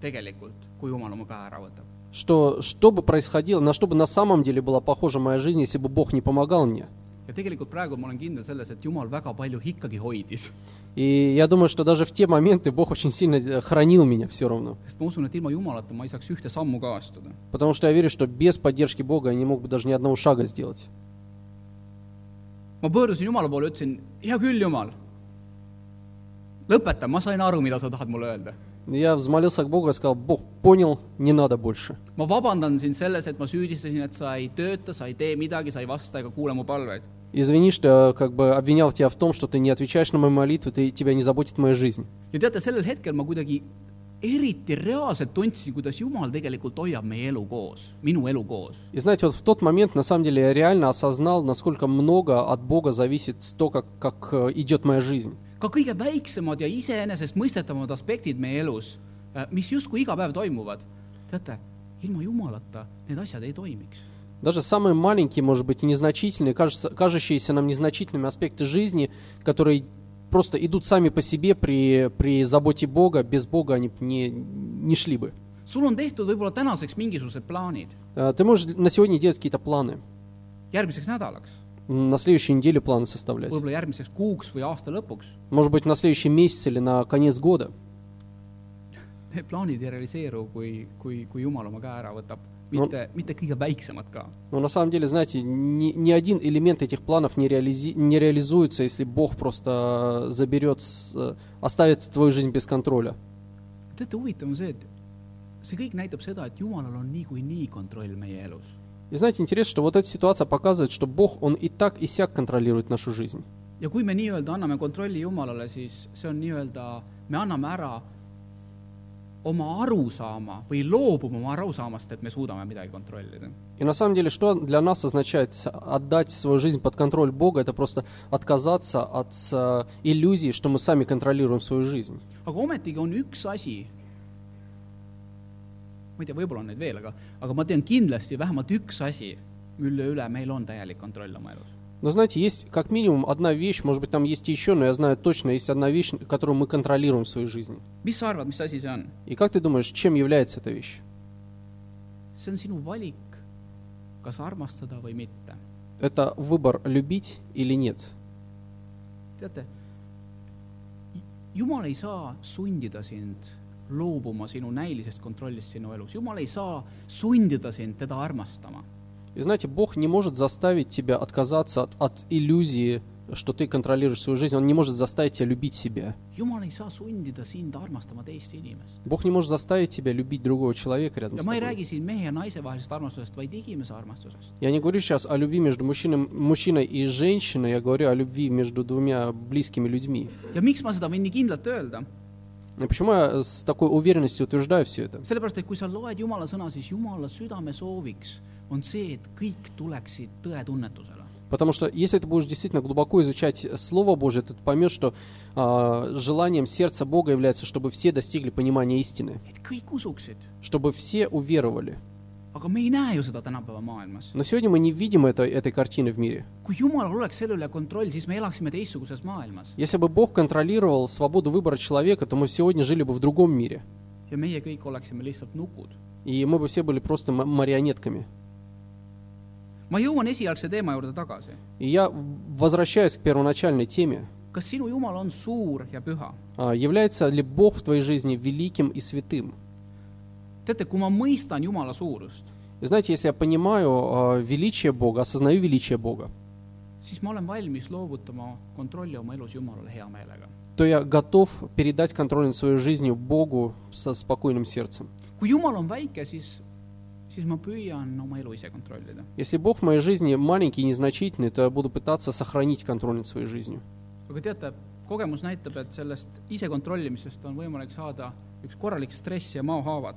[SPEAKER 1] tegelikult , kui jumal oma käe ära võtab .
[SPEAKER 2] Что, что бы происходило, на что бы на самом деле была похожа моя жизнь, если бы Бог не помогал мне.
[SPEAKER 1] ja tegelikult praegu ma olen kindel selles , et jumal väga palju ikkagi hoidis .
[SPEAKER 2] И я думаю, что даже в те моменты Бог очень сильно э, хранил меня все равно.
[SPEAKER 1] sest ma usun , et ilma jumalata ma ei saaks ühte sammu ka astuda .
[SPEAKER 2] Потому что я верю, что без поддержки Бога я не мог бы даже ни одного шага сделать.
[SPEAKER 1] ma pöördusin jumala poole , ütlesin , hea küll , jumal , lõpeta , ma sain aru , mida sa tahad mulle öelda .
[SPEAKER 2] Я взмолился к Богу и сказал, Бог, понял, не надо больше.
[SPEAKER 1] ma vabandan sind selles , et ma süüdistasin , et sa ei tööta , sa ei tee midagi , sa ei vasta ega kuule mu palveid .
[SPEAKER 2] Извини, что я как бы обвинял тебя в том, что ты не отвечаешь на мою молитву, ты, тебя не заботит моя жизнь.
[SPEAKER 1] ja teate , sellel hetkel ma kuidagi eriti reaalselt tundsin , kuidas Jumal tegelikult hoiab meie elu koos , minu elu koos .
[SPEAKER 2] И знаете, вот в тот момент, на самом деле, я реально осознал, насколько много от Бога зависит то, как, как э, идет моя жизнь.
[SPEAKER 1] ka kõige väiksemad ja iseenesestmõistetavamad aspektid meie elus , mis justkui iga päev toimuvad , teate , ilma Jumalata need asjad ei toimiks .
[SPEAKER 2] Даже самые маленькие, может быть, и незначительные, кажется- кажущиеся нам незначительными аспекты жизни, которые просто идут сами по себе при, при заботе Бога, без Бога они б не, не шли бы.
[SPEAKER 1] sul on tehtud võib-olla tänaseks mingisugused plaanid ,
[SPEAKER 2] Э, Ты можешь на сегодня делать какие-то планы,
[SPEAKER 1] järgmiseks nädalaks ,
[SPEAKER 2] м, на следующую неделю планы составлять,
[SPEAKER 1] võib-olla järgmiseks kuuks või aasta lõpuks .
[SPEAKER 2] может быть, на следующий месяц или на конец года.
[SPEAKER 1] Need plaanid ei realiseeru , kui , kui , kui Jumal oma käe ära võtab , mitte no. , mitte kõige väiksemad ka
[SPEAKER 2] Но на самом деле, знаете, ни, ни один элемент этих планов не, реализи- не реализуется, если Бог просто э, заберет, с- э, оставит твою жизнь без контроля.
[SPEAKER 1] teate , huvitav on see , et see kõik näitab seda , et Jumalal on niikuinii kontroll meie elus .
[SPEAKER 2] И знаете, интересно, что вот эта ситуация показывает, что Бог, Он и так, и сяк контролирует нашу жизнь.
[SPEAKER 1] ja kui me nii-öelda anname kontrolli Jumalale , siis see on nii-öelda , me anname ära oma arusaama või loobume oma arusaamast , et me suudame midagi kontrollida .
[SPEAKER 2] И на самом деле, что для нас означает с- отдать свою жизнь под контроль Бога, это просто отказаться от э, иллюзии, что мы сами контролируем свою жизнь.
[SPEAKER 1] aga ometigi on üks asi , ma ei tea , võib-olla on neid veel , aga , aga ma tean kindlasti vähemalt üks asi , mille üle meil on täielik kontroll oma elus .
[SPEAKER 2] Но знаете, есть как минимум одна вещь, может быть, там есть и еще, но я знаю точно, есть одна вещь, которую мы контролируем в своей жизни.
[SPEAKER 1] mis sa arvad , mis asi see on ?
[SPEAKER 2] И как ты думаешь, чем является эта вещь?
[SPEAKER 1] see on sinu valik , kas armastada või mitte .
[SPEAKER 2] Это выбор любить или нет.
[SPEAKER 1] teate , Jumal ei saa sundida sind loobuma sinu näilisest kontrollist sinu elus , Jumal ei saa sundida sind teda armastama .
[SPEAKER 2] И знаете, Бог не может заставить тебя отказаться от, от иллюзии, что ты контролируешь свою жизнь. Он не может заставить тебя любить себя.
[SPEAKER 1] Jumal ei saa sundida sind armastama teist inimest .
[SPEAKER 2] Бог не может заставить тебя любить другого человека рядом
[SPEAKER 1] ja
[SPEAKER 2] с
[SPEAKER 1] ma ei
[SPEAKER 2] тобой.
[SPEAKER 1] räägi siin mehe ja naise vahelisest armastusest , vaid inimese armastusest .
[SPEAKER 2] Я не говорю сейчас о любви между мужчиной, мужчиной и женщиной, я говорю о любви между двумя близкими людьми.
[SPEAKER 1] ja miks ma seda võin nii kindlalt öelda ?
[SPEAKER 2] И почему я с такой уверенностью утверждаю все это?
[SPEAKER 1] sellepärast , et kui sa loed Jumala sõna , siis Jumala südamesooviks on see , et kõik tuleksid tõetunnetusele .
[SPEAKER 2] Потому что если ты будешь действительно глубоко изучать Слово Божие, то ты поймешь, что а, желанием сердца Бога является, чтобы все достигли понимания истины,
[SPEAKER 1] et kõik usuksid ,
[SPEAKER 2] чтобы все уверовали.
[SPEAKER 1] aga me ei näe ju seda tänapäeva maailmas .
[SPEAKER 2] Но сегодня мы не видим это, этой картины в мире.
[SPEAKER 1] kui Jumalal oleks selle üle kontroll , siis me elaksime teistsuguses maailmas
[SPEAKER 2] Если бы Бог контролировал свободу выбора человека, то мы сегодня жили бы в другом мире.
[SPEAKER 1] ja meie kõik oleksime lihtsalt nukud .
[SPEAKER 2] И мы бы все были просто м- марионетками.
[SPEAKER 1] ma jõuan esialgse teema juurde tagasi .
[SPEAKER 2] И я возвращаюсь к первоначальной теме.
[SPEAKER 1] kas sinu Jumal on suur ja püha ?
[SPEAKER 2] А, является ли Бог в твоей жизни великим и святым?
[SPEAKER 1] teate , kui ma mõistan Jumala suurust ,
[SPEAKER 2] И знаете, если я понимаю а, величие Бога, осознаю величие Бога,
[SPEAKER 1] siis ma olen valmis loovutama kontrolli oma elus Jumalale hea meelega .
[SPEAKER 2] то я готов передать контроль над своей жизнью Богу со спокойным сердцем.
[SPEAKER 1] kui Jumal on väike , siis , siis ma püüan oma elu ise kontrollida .
[SPEAKER 2] Если Бог в моей жизни маленький и незначительный, то я буду пытаться сохранить контроль над своей жизнью.
[SPEAKER 1] aga teate , kogemus näitab , et sellest isekontrollimisest on võimalik saada üks korralik stress ja maohaavad .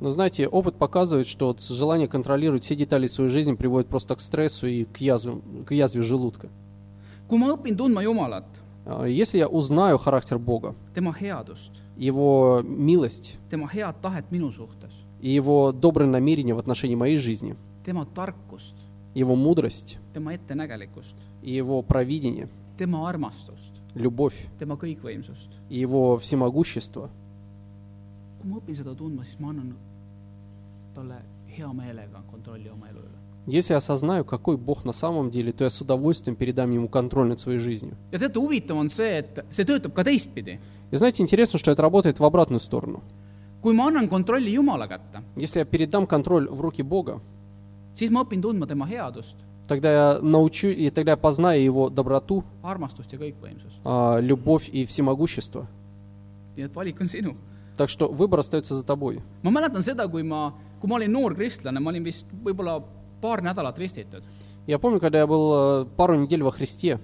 [SPEAKER 2] Но знаете, опыт показывает, что вот желание контролировать все детали своей жизни приводит просто к стрессу и к, язве, к язве желудка.
[SPEAKER 1] kui ma õpin tundma Jumalat ,
[SPEAKER 2] А, Если я узнаю характер Бога,
[SPEAKER 1] tema headust ,
[SPEAKER 2] Его милость
[SPEAKER 1] tema head tahet minu suhtes ,
[SPEAKER 2] и Его добрые намерения в отношении моей жизни,
[SPEAKER 1] tema tarkust ,
[SPEAKER 2] Его mudroсть
[SPEAKER 1] tema ettenägelikkust ,
[SPEAKER 2] и Его провидение,
[SPEAKER 1] tema armastust ,
[SPEAKER 2] любовь
[SPEAKER 1] tema kõikvõimsust ,
[SPEAKER 2] и Его всемогущество,
[SPEAKER 1] kui ma õpin seda tundma , siis ma annan talle hea meelega kontrolli oma elu üle .
[SPEAKER 2] Если я осознаю, какой Бог на самом деле, то я с удовольствием передам Ему контроль над своей жизнью.
[SPEAKER 1] ja teate , huvitav on see , et see töötab ka teistpidi .
[SPEAKER 2] И знаете, интересно, что это работает в обратную сторону.
[SPEAKER 1] kui ma annan kontrolli Jumala kätte ,
[SPEAKER 2] Если я передам контроль в руки Бога,
[SPEAKER 1] siis ma õpin tundma tema headust ,
[SPEAKER 2] тогда я научу, и тогда я познаю Его доброту,
[SPEAKER 1] armastust ja kõikvõimsust .
[SPEAKER 2] а, любовь и всемогущество.
[SPEAKER 1] nii et valik on sinu .
[SPEAKER 2] Так что выбор остается за тобой.
[SPEAKER 1] ma mäletan seda , kui ma , kui ma olin noor kristlane , ma olin vist võib-olla paar nädalat ristitud
[SPEAKER 2] Я помню, когда я был э, пару недель во Христе,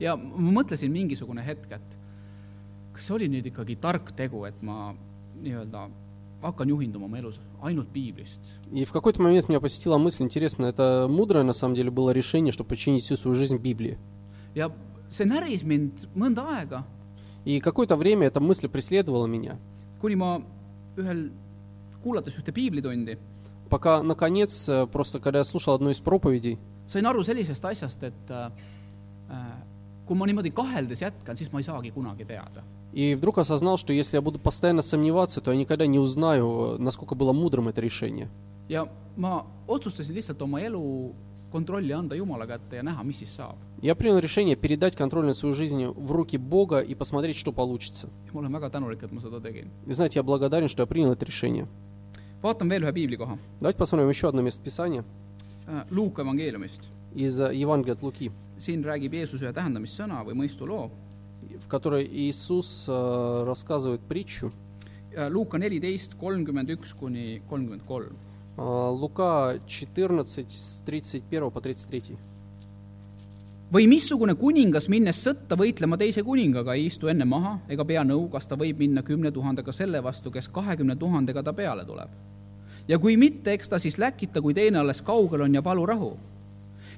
[SPEAKER 1] ja ma mõtlesin mingisugune hetk , et kas see oli nüüd ikkagi tark tegu , et ma nii-öelda hakkan juhinduma oma elus ainult piiblist .
[SPEAKER 2] и в какой-то момент меня посетила мысль, интересно, это мудрое на самом деле было решение, чтобы подчинить всю свою жизнь Библии.
[SPEAKER 1] ja see näris mind mõnda aega ,
[SPEAKER 2] И какое-то время эта мысль преследовала меня,
[SPEAKER 1] kuni ma ühel , kuulates ühte piiblitundi ,
[SPEAKER 2] пока, наконец, э, просто когда я слушал одну из проповедей,
[SPEAKER 1] sain aru sellisest asjast , et äh, kui ma niimoodi kaheldes jätkan , siis ma ei saagi kunagi teada .
[SPEAKER 2] и вдруг осознал, что если я буду постоянно сомневаться, то я никогда не узнаю, э, насколько было мудрым это решение.
[SPEAKER 1] ja ma otsustasin lihtsalt oma elu kontrolli anda Jumala kätte ja näha , mis siis saab .
[SPEAKER 2] Я принял решение передать контроль над своей жизнью в руки Бога и посмотреть, что получится.
[SPEAKER 1] ja ma olen väga tänulik , et ma seda tegin .
[SPEAKER 2] И знаете, я благодарен, что я принял это решение.
[SPEAKER 1] vaatan veel ühe piiblikoha
[SPEAKER 2] Давайте посмотрим еще одно место Писания
[SPEAKER 1] äh, Luuka evangeeliumist .
[SPEAKER 2] из э, Евангелия от Луки,
[SPEAKER 1] siin räägib Jeesus ühe tähendamissõna või mõistuloo .
[SPEAKER 2] в которой Иисус э, raссказывает притчу.
[SPEAKER 1] Äh, Luuka neliteist , kolmkümmend üks kuni kolmkümmend kolm .
[SPEAKER 2] Э, Лука 14, с 31 по 33.
[SPEAKER 1] või missugune kuningas , minnes sõtta võitlema teise kuningaga , ei istu enne maha ega pea nõu , kas ta võib minna kümne tuhandega selle vastu , kes kahekümne tuhandega ta peale tuleb . ja kui mitte , eks ta siis läkita , kui teine alles kaugel on ja palu rahu .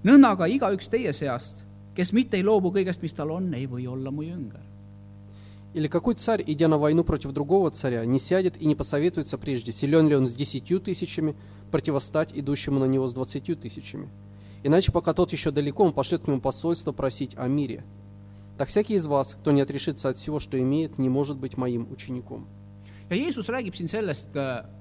[SPEAKER 1] nõnda aga igaüks teie seast , kes mitte ei loobu kõigest , mis tal on , ei või olla mu jünger .
[SPEAKER 2] Или какой царь, идя на войну против другого царя, не сядет и не посоветуется прежде, силен ли он с десятью тысячами, противостать идущему на него с двадцатью тысячами? Иначе, пока тот еще далеко, он пошлет к нему посольство просить о мире. Так всякий из вас, кто не отрешится от всего, что имеет, не может быть моим учеником.
[SPEAKER 1] ja Jeesus räägib siin sellest ,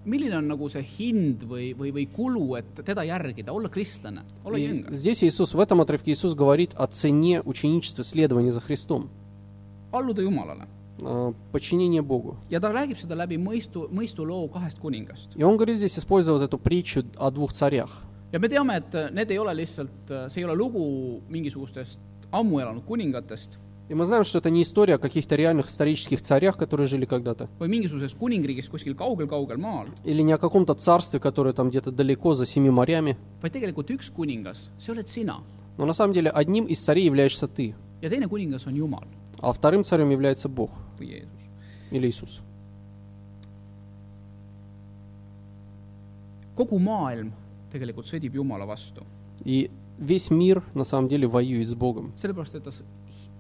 [SPEAKER 1] milline on nagu see hind või , või , või kulu , et teda järgida , olla kristlane , olla
[SPEAKER 2] И
[SPEAKER 1] jünger ,
[SPEAKER 2] здесь Иисус, в этом отрывке Иисус говорит о цене ученичества, следования за Христом,
[SPEAKER 1] alluda Jumalale .
[SPEAKER 2] э, подчинение Богу.
[SPEAKER 1] ja ta räägib seda läbi mõistu , mõistuloo kahest kuningast .
[SPEAKER 2] И он говорит здесь, использовал эту притчу о двух царях.
[SPEAKER 1] ja me teame , et äh, need ei ole lihtsalt , see ei ole lugu mingisugustest ammu elanud kuningatest
[SPEAKER 2] И мы знаем, что это не история о каких-то реальных исторических царях, которые жили когда-то,
[SPEAKER 1] või mingisugusest kuningriigist kuskil kaugel-kaugel maal ,
[SPEAKER 2] или не о каком-то царстве, которое там где-то далеко за семи морями.
[SPEAKER 1] vaid tegelikult üks kuningas , see oled sina
[SPEAKER 2] Но на самом деле одним из царей являешься ты,
[SPEAKER 1] ja teine kuningas on Jumal
[SPEAKER 2] а вторым царем является Бог
[SPEAKER 1] või Jeesus .
[SPEAKER 2] или Иисус.
[SPEAKER 1] kogu maailm tegelikult sõdib Jumala vastu ,
[SPEAKER 2] И весь мир на самом деле воюет с Богом.
[SPEAKER 1] sellepärast et ta s-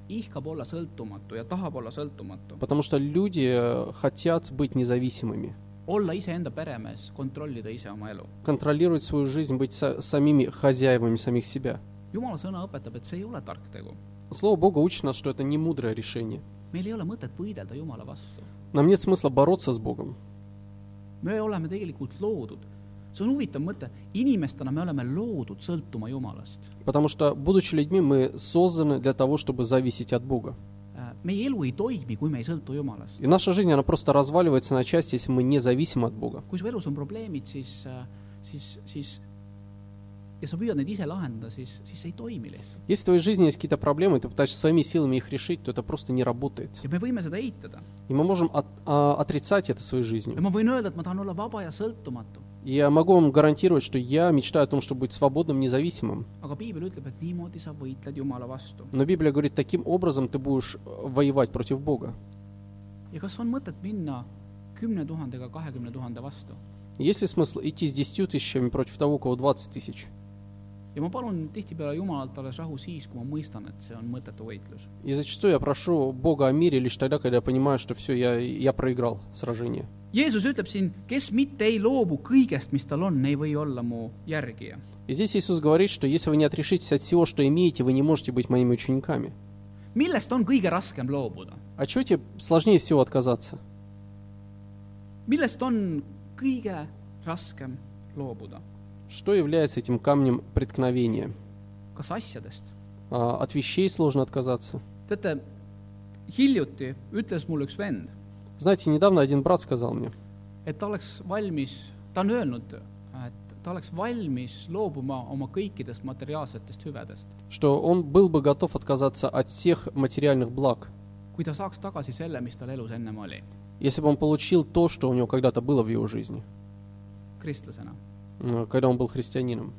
[SPEAKER 1] ihkab olla sõltumatu ja tahab olla sõltumatu ,
[SPEAKER 2] Потому что люди э, хотят быть независимыми,
[SPEAKER 1] olla iseenda peremees , kontrollida ise oma elu .
[SPEAKER 2] контролировать свою жизнь, быть са- самими хозяевами самих себя.
[SPEAKER 1] jumala sõna õpetab , et see ei ole tark tegu .
[SPEAKER 2] Слово Бога учит нас, что это не мудрое решение.
[SPEAKER 1] meil ei ole mõtet võidelda Jumala vastu .
[SPEAKER 2] Нам нет смысла бороться с Богом.
[SPEAKER 1] me oleme tegelikult loodud , see on huvitav mõte , inimestena me oleme loodud sõltuma Jumalast .
[SPEAKER 2] Потому что, будучи людьми, мы созданы для того, чтобы зависеть от Бога.
[SPEAKER 1] Äh, meie elu ei toimi , kui me ei sõltu Jumalast .
[SPEAKER 2] И наша жизнь, она просто разваливается на части, если мы не зависим от Бога.
[SPEAKER 1] kui su elus on probleemid , siis , siis , siis ja sa püüad neid ise lahendada , siis , siis see ei toimi lihtsalt .
[SPEAKER 2] Если в твоей жизни есть какие-то проблемы, и ты пытаешься своими силами их решить, то это просто не работает.
[SPEAKER 1] ja me võime seda eitada
[SPEAKER 2] И мы можем от- а, отрицать это своей
[SPEAKER 1] ja
[SPEAKER 2] жизнью.
[SPEAKER 1] ma võin öelda , et ma tahan olla vaba ja sõltumatu ,
[SPEAKER 2] И я могу вам гарантировать, что я мечтаю о том, чтобы быть свободным, независимым.
[SPEAKER 1] aga piibel ütleb , et niimoodi sa võitled Jumala vastu .
[SPEAKER 2] Но Библия говорит, таким образом ты будешь э, воевать против Бога.
[SPEAKER 1] ja kas on mõtet minna kümne tuhandega kahekümne tuhande vastu ?
[SPEAKER 2] Есть ли смысл идти с 10 тысячами против того, у кого 20 тысяч?
[SPEAKER 1] ja ma palun tihtipeale Jumalalt alles rahu siis , kui ma mõistan , et see on mõttetu võitlus .
[SPEAKER 2] И зачастую я прошу Бога о мире лишь тогда, когда я понимаю, что все, я, я проиграл сражение.
[SPEAKER 1] Jeesus ütleb siin , kes mitte ei loobu kõigest , mis tal on , ei või olla mu järgija .
[SPEAKER 2] И здесь Иисус говорит, что если вы не отрешитесь от всего, что имеете, вы не можете быть моими учениками.
[SPEAKER 1] millest on kõige raskem loobuda ?
[SPEAKER 2] А чего тебе сложнее всего отказаться?
[SPEAKER 1] millest on kõige raskem loobuda ?
[SPEAKER 2] Что является этим камнем преткновения?
[SPEAKER 1] kas asjadest ?
[SPEAKER 2] А, От вещей сложно отказаться.
[SPEAKER 1] teate , hiljuti ütles mul üks vend ,
[SPEAKER 2] Знаете, недавно один брат сказал мне,
[SPEAKER 1] et ta oleks valmis , ta on öelnud , et ta oleks valmis loobuma oma kõikidest materiaalsetest hüvedest ,
[SPEAKER 2] что он был бы готов отказаться от всех материальных благ,
[SPEAKER 1] kui ta saaks tagasi selle , mis tal elus ennem oli ,
[SPEAKER 2] если бы он получил то, что у него когда-то было в его жизни,
[SPEAKER 1] kristlasena .
[SPEAKER 2] э, когда он был христианином.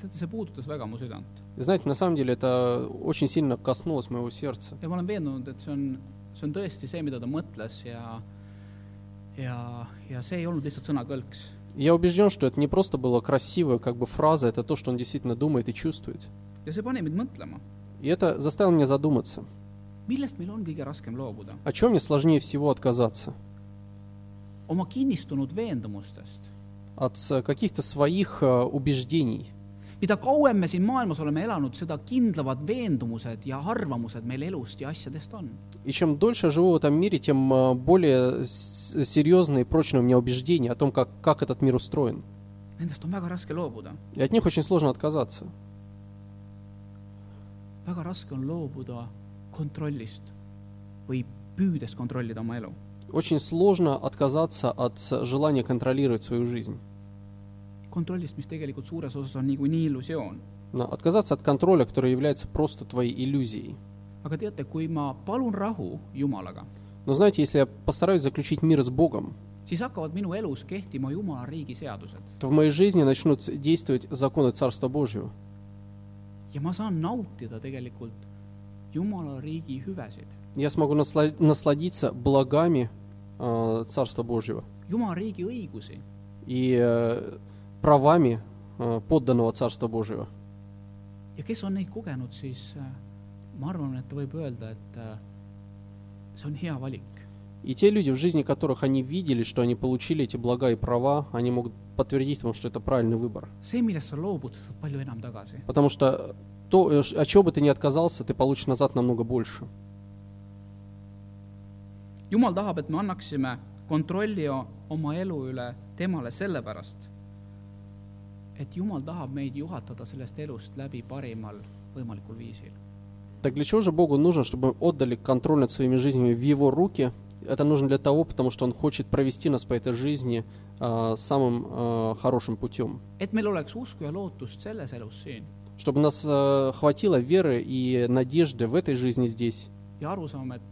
[SPEAKER 1] teate , see puudutas väga mu südant
[SPEAKER 2] И знаете, на самом деле это очень сильно коснулось моего сердца.
[SPEAKER 1] ja ma olen veendunud , et see on , see on tõesti see , mida ta mõtles ja ja , ja see ei olnud lihtsalt sõnakõlks ,
[SPEAKER 2] И Я убежден, что это не просто была красивая как бы фраза, это то, что он действительно думает и чувствует.
[SPEAKER 1] ja see pani mind mõtlema ,
[SPEAKER 2] И это заставило меня задуматься,
[SPEAKER 1] millest meil on kõige raskem loobuda ,
[SPEAKER 2] о чем мне сложнее всего отказаться?
[SPEAKER 1] oma kinnistunud veendumustest .
[SPEAKER 2] От э, каких-то своих э, убеждений,
[SPEAKER 1] mida kauem me siin maailmas oleme elanud , seda kindlamad veendumused ja arvamused meil elust ja asjadest on .
[SPEAKER 2] И чем дольше я живу в этом мире, тем э, более с- серьезные и прочные у меня убеждения о том, как, как этот мир устроен.
[SPEAKER 1] Nendest on väga raske loobuda ,
[SPEAKER 2] И от них очень сложно отказаться.
[SPEAKER 1] väga raske on loobuda kontrollist või püüdes kontrollida oma elu .
[SPEAKER 2] Очень сложно отказаться от с- желания контролировать свою жизnь.
[SPEAKER 1] kontrollist , mis tegelikult suures osas on niikuinii illusioon .
[SPEAKER 2] Но отказаться от контроля, который является просто твоей иллюзией.
[SPEAKER 1] aga teate , kui ma palun rahu Jumalaga ,
[SPEAKER 2] Но знаете, если я постараюсь zaключить мир с Богом,
[SPEAKER 1] siis hakkavad minu elus kehtima Jumala riigi seadused
[SPEAKER 2] то в моей жизни начнут ц- действовать законы Царства Божьего.
[SPEAKER 1] ja ma saan nautida tegelikult Jumala riigi hüvesid .
[SPEAKER 2] Я смогу насла- насладиться благами э, Царства Божьего
[SPEAKER 1] Jumala riigi õigusi ,
[SPEAKER 2] и э, правами э, подданного Царства Божьего.
[SPEAKER 1] ja kes on neid kogenud , siis äh, ma arvan , et ta võib öelda , et äh, see on hea valik .
[SPEAKER 2] И те люди, в жизни которых они видели, что они получили эти блага и права, они могут подтвердить вам, что это правильный выбор.
[SPEAKER 1] see , millest sa loobud , sa saad palju enam tagasi .
[SPEAKER 2] Потому что то, э, ш- от чего бы ты ни отказался, ты получишь назад намного больше.
[SPEAKER 1] jumal tahab , et me annaksime kontrolli o- oma elu üle temale sellepärast , et jumal tahab meid juhatada sellest elust läbi parimal võimalikul viisil .
[SPEAKER 2] Так для чего же Богу нужно, чтобы мы отдали контроль над своими жизнями в Его руки? Это нужно для того, потому что Он хочет провести нас по этой жизни а, самым а, хорошим путем.
[SPEAKER 1] et meil oleks usku ja lootust selles elus siin
[SPEAKER 2] Чтобы нас э, хватило веры и надежды в этой жизни здесь.
[SPEAKER 1] ja arusaam , et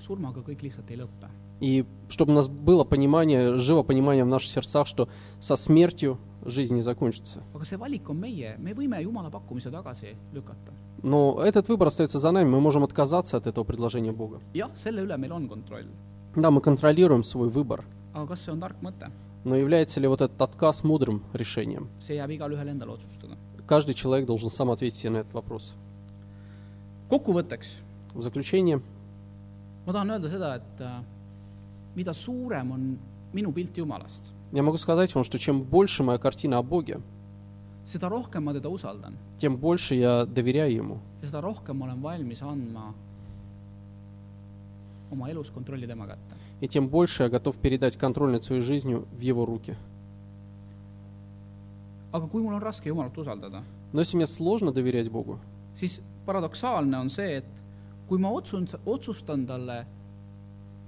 [SPEAKER 1] surmaga kõik lihtsalt ei lõpe .
[SPEAKER 2] И чтобы у нас было понимание, живо понимание в наших сердцах, что со смертью жизнь не закончится.
[SPEAKER 1] aga see valik on meie , me võime Jumala pakkumise tagasi lükata .
[SPEAKER 2] Но этот выбор остается за нами, мы можем отказаться от этого предложения Бога.
[SPEAKER 1] jah , selle üle meil on kontroll ,
[SPEAKER 2] Да, мы kontrолируем свой выбор,
[SPEAKER 1] aga kas see on tark mõte ?
[SPEAKER 2] но является ли вот этот отказ мудрым решением?
[SPEAKER 1] see jääb igalühel endal otsustada .
[SPEAKER 2] Каждый человек должен сам ответить себе на этот вопрос.
[SPEAKER 1] kokkuvõtteks
[SPEAKER 2] В заключение,
[SPEAKER 1] ma tahan öelda seda , et äh, mida suurem on minu pilt Jumalast ,
[SPEAKER 2] я могу сказать вам, что чем больше моя картина о Боге,
[SPEAKER 1] seda rohkem ma teda usaldan
[SPEAKER 2] тем больше я доверяю Ему,
[SPEAKER 1] ja seda rohkem ma olen valmis andma oma elus kontrolli tema kätte .
[SPEAKER 2] и тем больше я готов передать контроль над своей жизнью в Его руки.
[SPEAKER 1] aga kui mul on raske Jumalat usaldada ,
[SPEAKER 2] Но если мне сложно доверять Богу,
[SPEAKER 1] siis paradoksaalne on see , et kui ma otsun , otsustan talle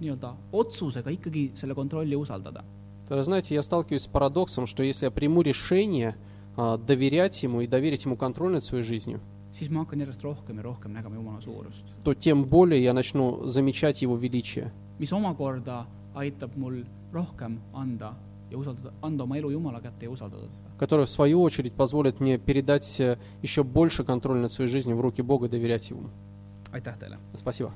[SPEAKER 1] nii-öelda otsusega ikkagi selle kontrolli usaldada ,
[SPEAKER 2] то, знаете, я сталкиваюсь с парадоксом, что если я приму решение а, доверять Ему и доверить Ему контроль над своей жизнью,
[SPEAKER 1] siis ma hakkan järjest rohkem ja rohkem nägema Jumala suurust ,
[SPEAKER 2] то тем более я начну замечать Его величие,
[SPEAKER 1] mis omakorda aitab mul rohkem anda ja usaldada , anda oma elu Jumala kätte ja usaldada teda .
[SPEAKER 2] которое, в свою очередь, позволит мне передать э, еще больше контроля над своей жизнью в руки Бога и доверять Ему.
[SPEAKER 1] aitäh teile!
[SPEAKER 2] Спасибо.